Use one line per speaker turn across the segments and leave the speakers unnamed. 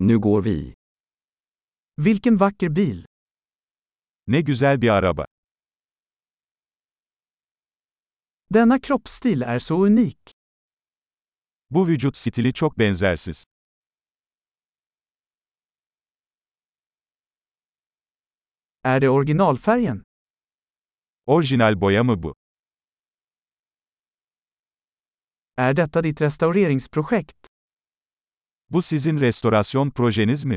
Nu går vi.
Vilken vacker bil.
Ne güzel bir araba.
Denna kroppsstil är så unik.
Bu vücut stili çok benzersiz.
Är det originalfärgen?
Orijinal boya mı bu?
Är detta ditt restaureringsprojekt?
Bu sizin restorasyon projeniz mi?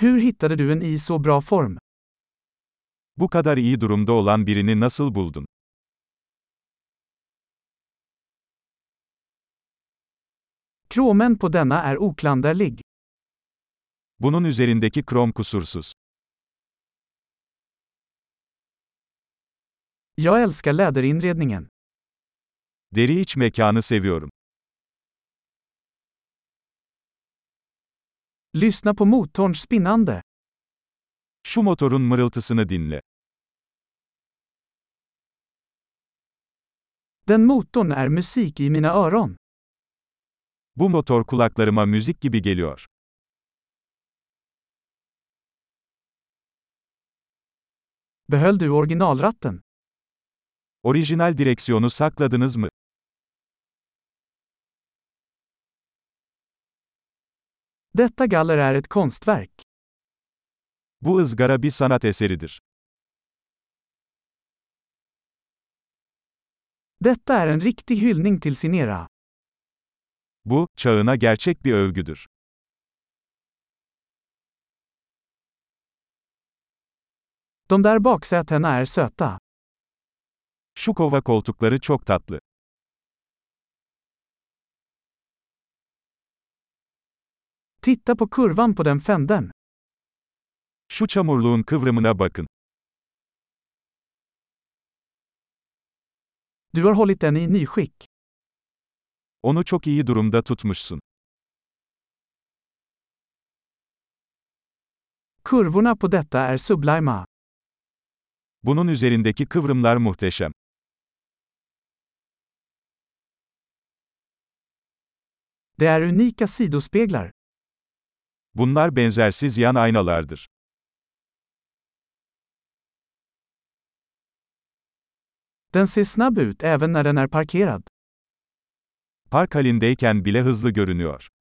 Hur hittade du en i så bra form?
Bu kadar iyi durumda olan birini nasıl buldun?
Kromen på denna är oklanderlig.
Bunun üzerindeki krom kusursuz.
Jag älskar läderinredningen.
Deri iç mekanı seviyorum.
Lyssna på motorns spinnande.
Şu motorun mırıltısını dinle.
Den motorn är musik i mina öron.
Bu motor kulaklarıma müzik gibi geliyor.
Behöll du originalratten?
Orijinal direksiyonu sakladınız mı?
Detta galler är ett konstverk.
Bu ızgara bir sanat eseridir.
Detta är en riktig hyllning till sin era.
Bu, çağına gerçek bir övgüdür.
De där baksätena är söta.
Şu kova koltukları çok tatlı.
Titta på kurvan på den fänden.
Şu çamurluğun kıvrımına bakın.
Du har hållit den i nyskick.
Onu çok iyi durumda tutmuşsun.
Kurvorna på detta är sublima.
Bunun üzerindeki kıvrımlar muhteşem.
Det är unika sidospeglar.
Bunlar benzersiz yan aynalardır.
Den ser snabb ut även när den är parkerad.
Park halindeyken bile hızlı görünüyor.